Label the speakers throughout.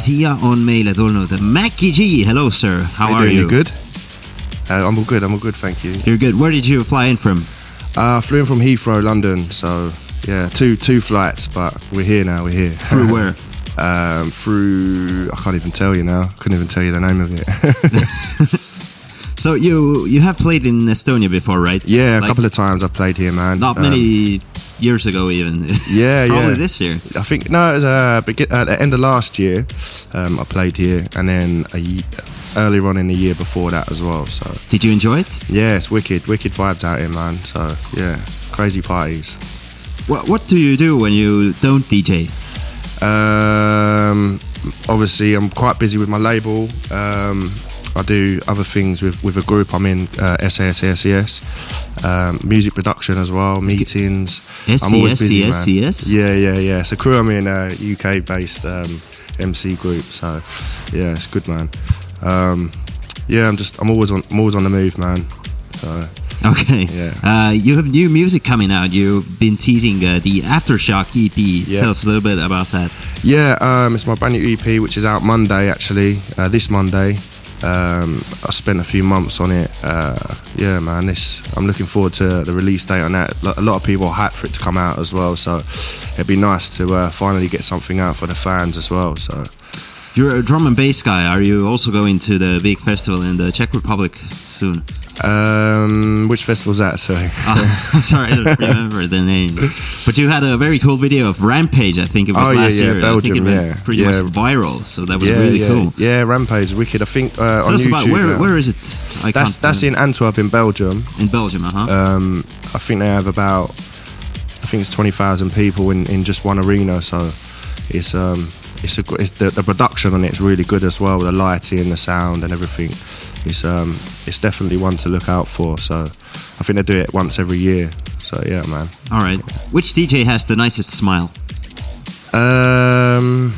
Speaker 1: Mattia on mail at allnote. Mackie G, hello sir, how
Speaker 2: Hey
Speaker 1: are
Speaker 2: there,
Speaker 1: you?
Speaker 2: good? Uh, I'm all good. I'm all good. Thank you.
Speaker 1: You're good. Where did you fly in from?
Speaker 2: Uh, I flew in from Heathrow, London. So yeah, two two flights, but we're here now. We're here.
Speaker 1: Through where?
Speaker 2: um, through I can't even tell you now. I couldn't even tell you the name of it.
Speaker 1: So you you have played in Estonia before, right?
Speaker 2: yeah, a
Speaker 1: Like,
Speaker 2: couple of times I played here, man.
Speaker 1: Not
Speaker 2: Um,
Speaker 1: many years ago, even.
Speaker 2: Yeah,
Speaker 1: Probably
Speaker 2: yeah.
Speaker 1: this year.
Speaker 2: I think no, it was uh, begi- at the end of last year. Um, I played here, and then a ye- earlier on in the year before that as well. So
Speaker 1: Did you enjoy it?
Speaker 2: yeah, it's wicked, wicked vibes out here, man. So yeah, crazy parties.
Speaker 1: What What do you do when you don't DJ?
Speaker 2: Um, obviously, I'm quite busy with my label. Um, I do other things with, with a group. I'm in uh, SASASES, um, music production as well, meetings. I'm always busy, man.
Speaker 1: SASASES?
Speaker 2: Yeah, yeah, yeah. It's a crew I'm in, a UK based um, MC group. So, yeah, it's good, man. Um, yeah, I'm just, I'm always on, I'm always on the move, man. So,
Speaker 1: Okay.
Speaker 2: Yeah.
Speaker 1: Uh, you have new music coming out. You've been teasing uh, the Aftershock EP.
Speaker 2: Yeah.
Speaker 1: Tell us a little bit about that.
Speaker 2: Yeah, um, it's my brand new EP, which is out Monday actually. Uh, this Monday, um, I spent a few months on it. Uh, yeah, man, this I'm looking forward to the release date on that. Lo- A lot of people are hyped for it to come out as well, so it'd be nice to uh, finally get something out for the fans as well. So
Speaker 1: You're a drum and bass guy. Are you also going to the big festival in the Czech Republic soon?
Speaker 2: um, which festival's that? Sorry.
Speaker 1: Ah, I'm sorry, I don't remember the name. But you had a very cool video of Rampage. I think it was
Speaker 2: Oh, yeah,
Speaker 1: last
Speaker 2: yeah,
Speaker 1: year. I
Speaker 2: Belgium,
Speaker 1: think it went
Speaker 2: yeah,
Speaker 1: pretty
Speaker 2: yeah.
Speaker 1: much viral. So that was
Speaker 2: yeah,
Speaker 1: really
Speaker 2: yeah,
Speaker 1: cool.
Speaker 2: yeah. Rampage, wicked. I think uh,
Speaker 1: Tell
Speaker 2: on
Speaker 1: us
Speaker 2: YouTube.
Speaker 1: about where,
Speaker 2: now.
Speaker 1: where is it? I
Speaker 2: that's
Speaker 1: can't
Speaker 2: that's in Antwerp in Belgium.
Speaker 1: in Belgium, uh-huh.
Speaker 2: Um, I think they have about, I think it's twenty thousand people in, in just one arena. So it's um, it's a gr- it's the, the production on it's really good as well. The lighting, the sound, and everything. It's um, it's definitely one to look out for. So I think they do it once every year. So yeah, man.
Speaker 1: All right. Which DJ has the nicest smile?
Speaker 2: Um,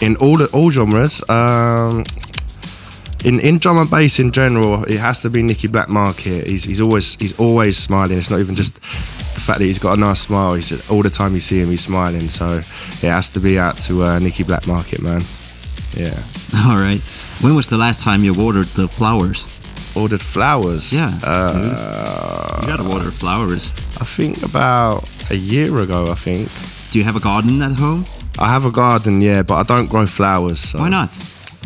Speaker 2: in all all genres. Um, in, in drum and bass in general, it has to be Nicky Black Market. He's, he's always he's always smiling. It's not even just the fact that he's got a nice smile. He's all the time you see him, he's smiling. So it has to be out to uh, Nicky Black Market, man. Yeah.
Speaker 1: All right. When was the last time you watered the flowers?
Speaker 2: Ordered flowers.
Speaker 1: Yeah.
Speaker 2: Uh,
Speaker 1: You gotta water flowers.
Speaker 2: I think about a year ago. I think
Speaker 1: Do you have a garden at home?
Speaker 2: I have a garden, yeah, but I don't grow flowers. So.
Speaker 1: Why not?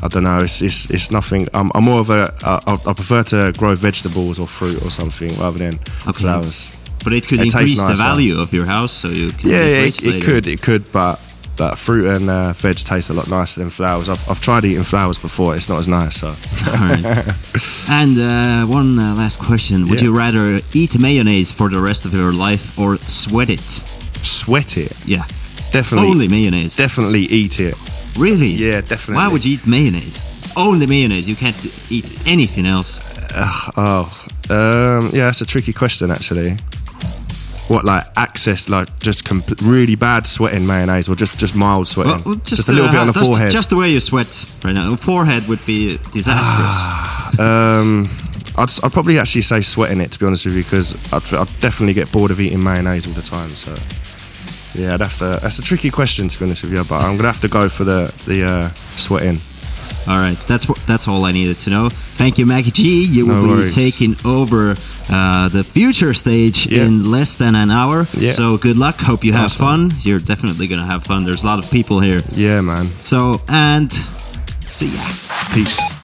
Speaker 2: I don't know. It's it's, it's nothing. I'm, I'm more of a. I, I prefer to grow vegetables or fruit or something rather than
Speaker 1: Okay.
Speaker 2: flowers.
Speaker 1: But it could
Speaker 2: It tastes
Speaker 1: increase the
Speaker 2: nicer.
Speaker 1: value of your house, so you can.
Speaker 2: Yeah,
Speaker 1: get
Speaker 2: yeah,
Speaker 1: rich
Speaker 2: it, it
Speaker 1: later.
Speaker 2: could, it could, but but fruit and uh, veg taste a lot nicer than flowers. I've, I've tried eating flowers before. It's not as nice. So
Speaker 1: All right. and uh, one uh, last question: Would
Speaker 2: Yeah.
Speaker 1: you rather eat mayonnaise for the rest of your life or sweat it?
Speaker 2: sweat it.
Speaker 1: Yeah,
Speaker 2: Definitely.
Speaker 1: only mayonnaise.
Speaker 2: Definitely eat it.
Speaker 1: really?
Speaker 2: Yeah, definitely.
Speaker 1: Why would you eat mayonnaise? Only mayonnaise. You can't eat anything else.
Speaker 2: Oh, um, yeah, that's a tricky question actually. What like access, like just compl- really bad sweating mayonnaise, or just just mild sweating,
Speaker 1: Well,
Speaker 2: just, a little
Speaker 1: uh,
Speaker 2: bit on the
Speaker 1: just,
Speaker 2: forehead.
Speaker 1: Just the way you sweat right now. Forehead would be
Speaker 2: Ah.
Speaker 1: disastrous.
Speaker 2: Um, I'd, s- I'd probably actually say sweating it to be honest with you because I'd, I'd definitely get bored of eating mayonnaise all the time. So yeah, I'd have to, that's a tricky question to be honest with you, but I'm gonna have to go for the the uh, sweating.
Speaker 1: all right, that's wh- that's all I needed to know. Thank you, Maggie G. You
Speaker 2: No
Speaker 1: will be
Speaker 2: worries.
Speaker 1: taking over uh, the future stage
Speaker 2: Yeah.
Speaker 1: in less than an hour.
Speaker 2: Yeah.
Speaker 1: So good luck. Hope you have
Speaker 2: Nice
Speaker 1: fun. You're definitely gonna have fun. There's a lot of people here.
Speaker 2: Yeah, man.
Speaker 1: So and see ya.
Speaker 2: Peace.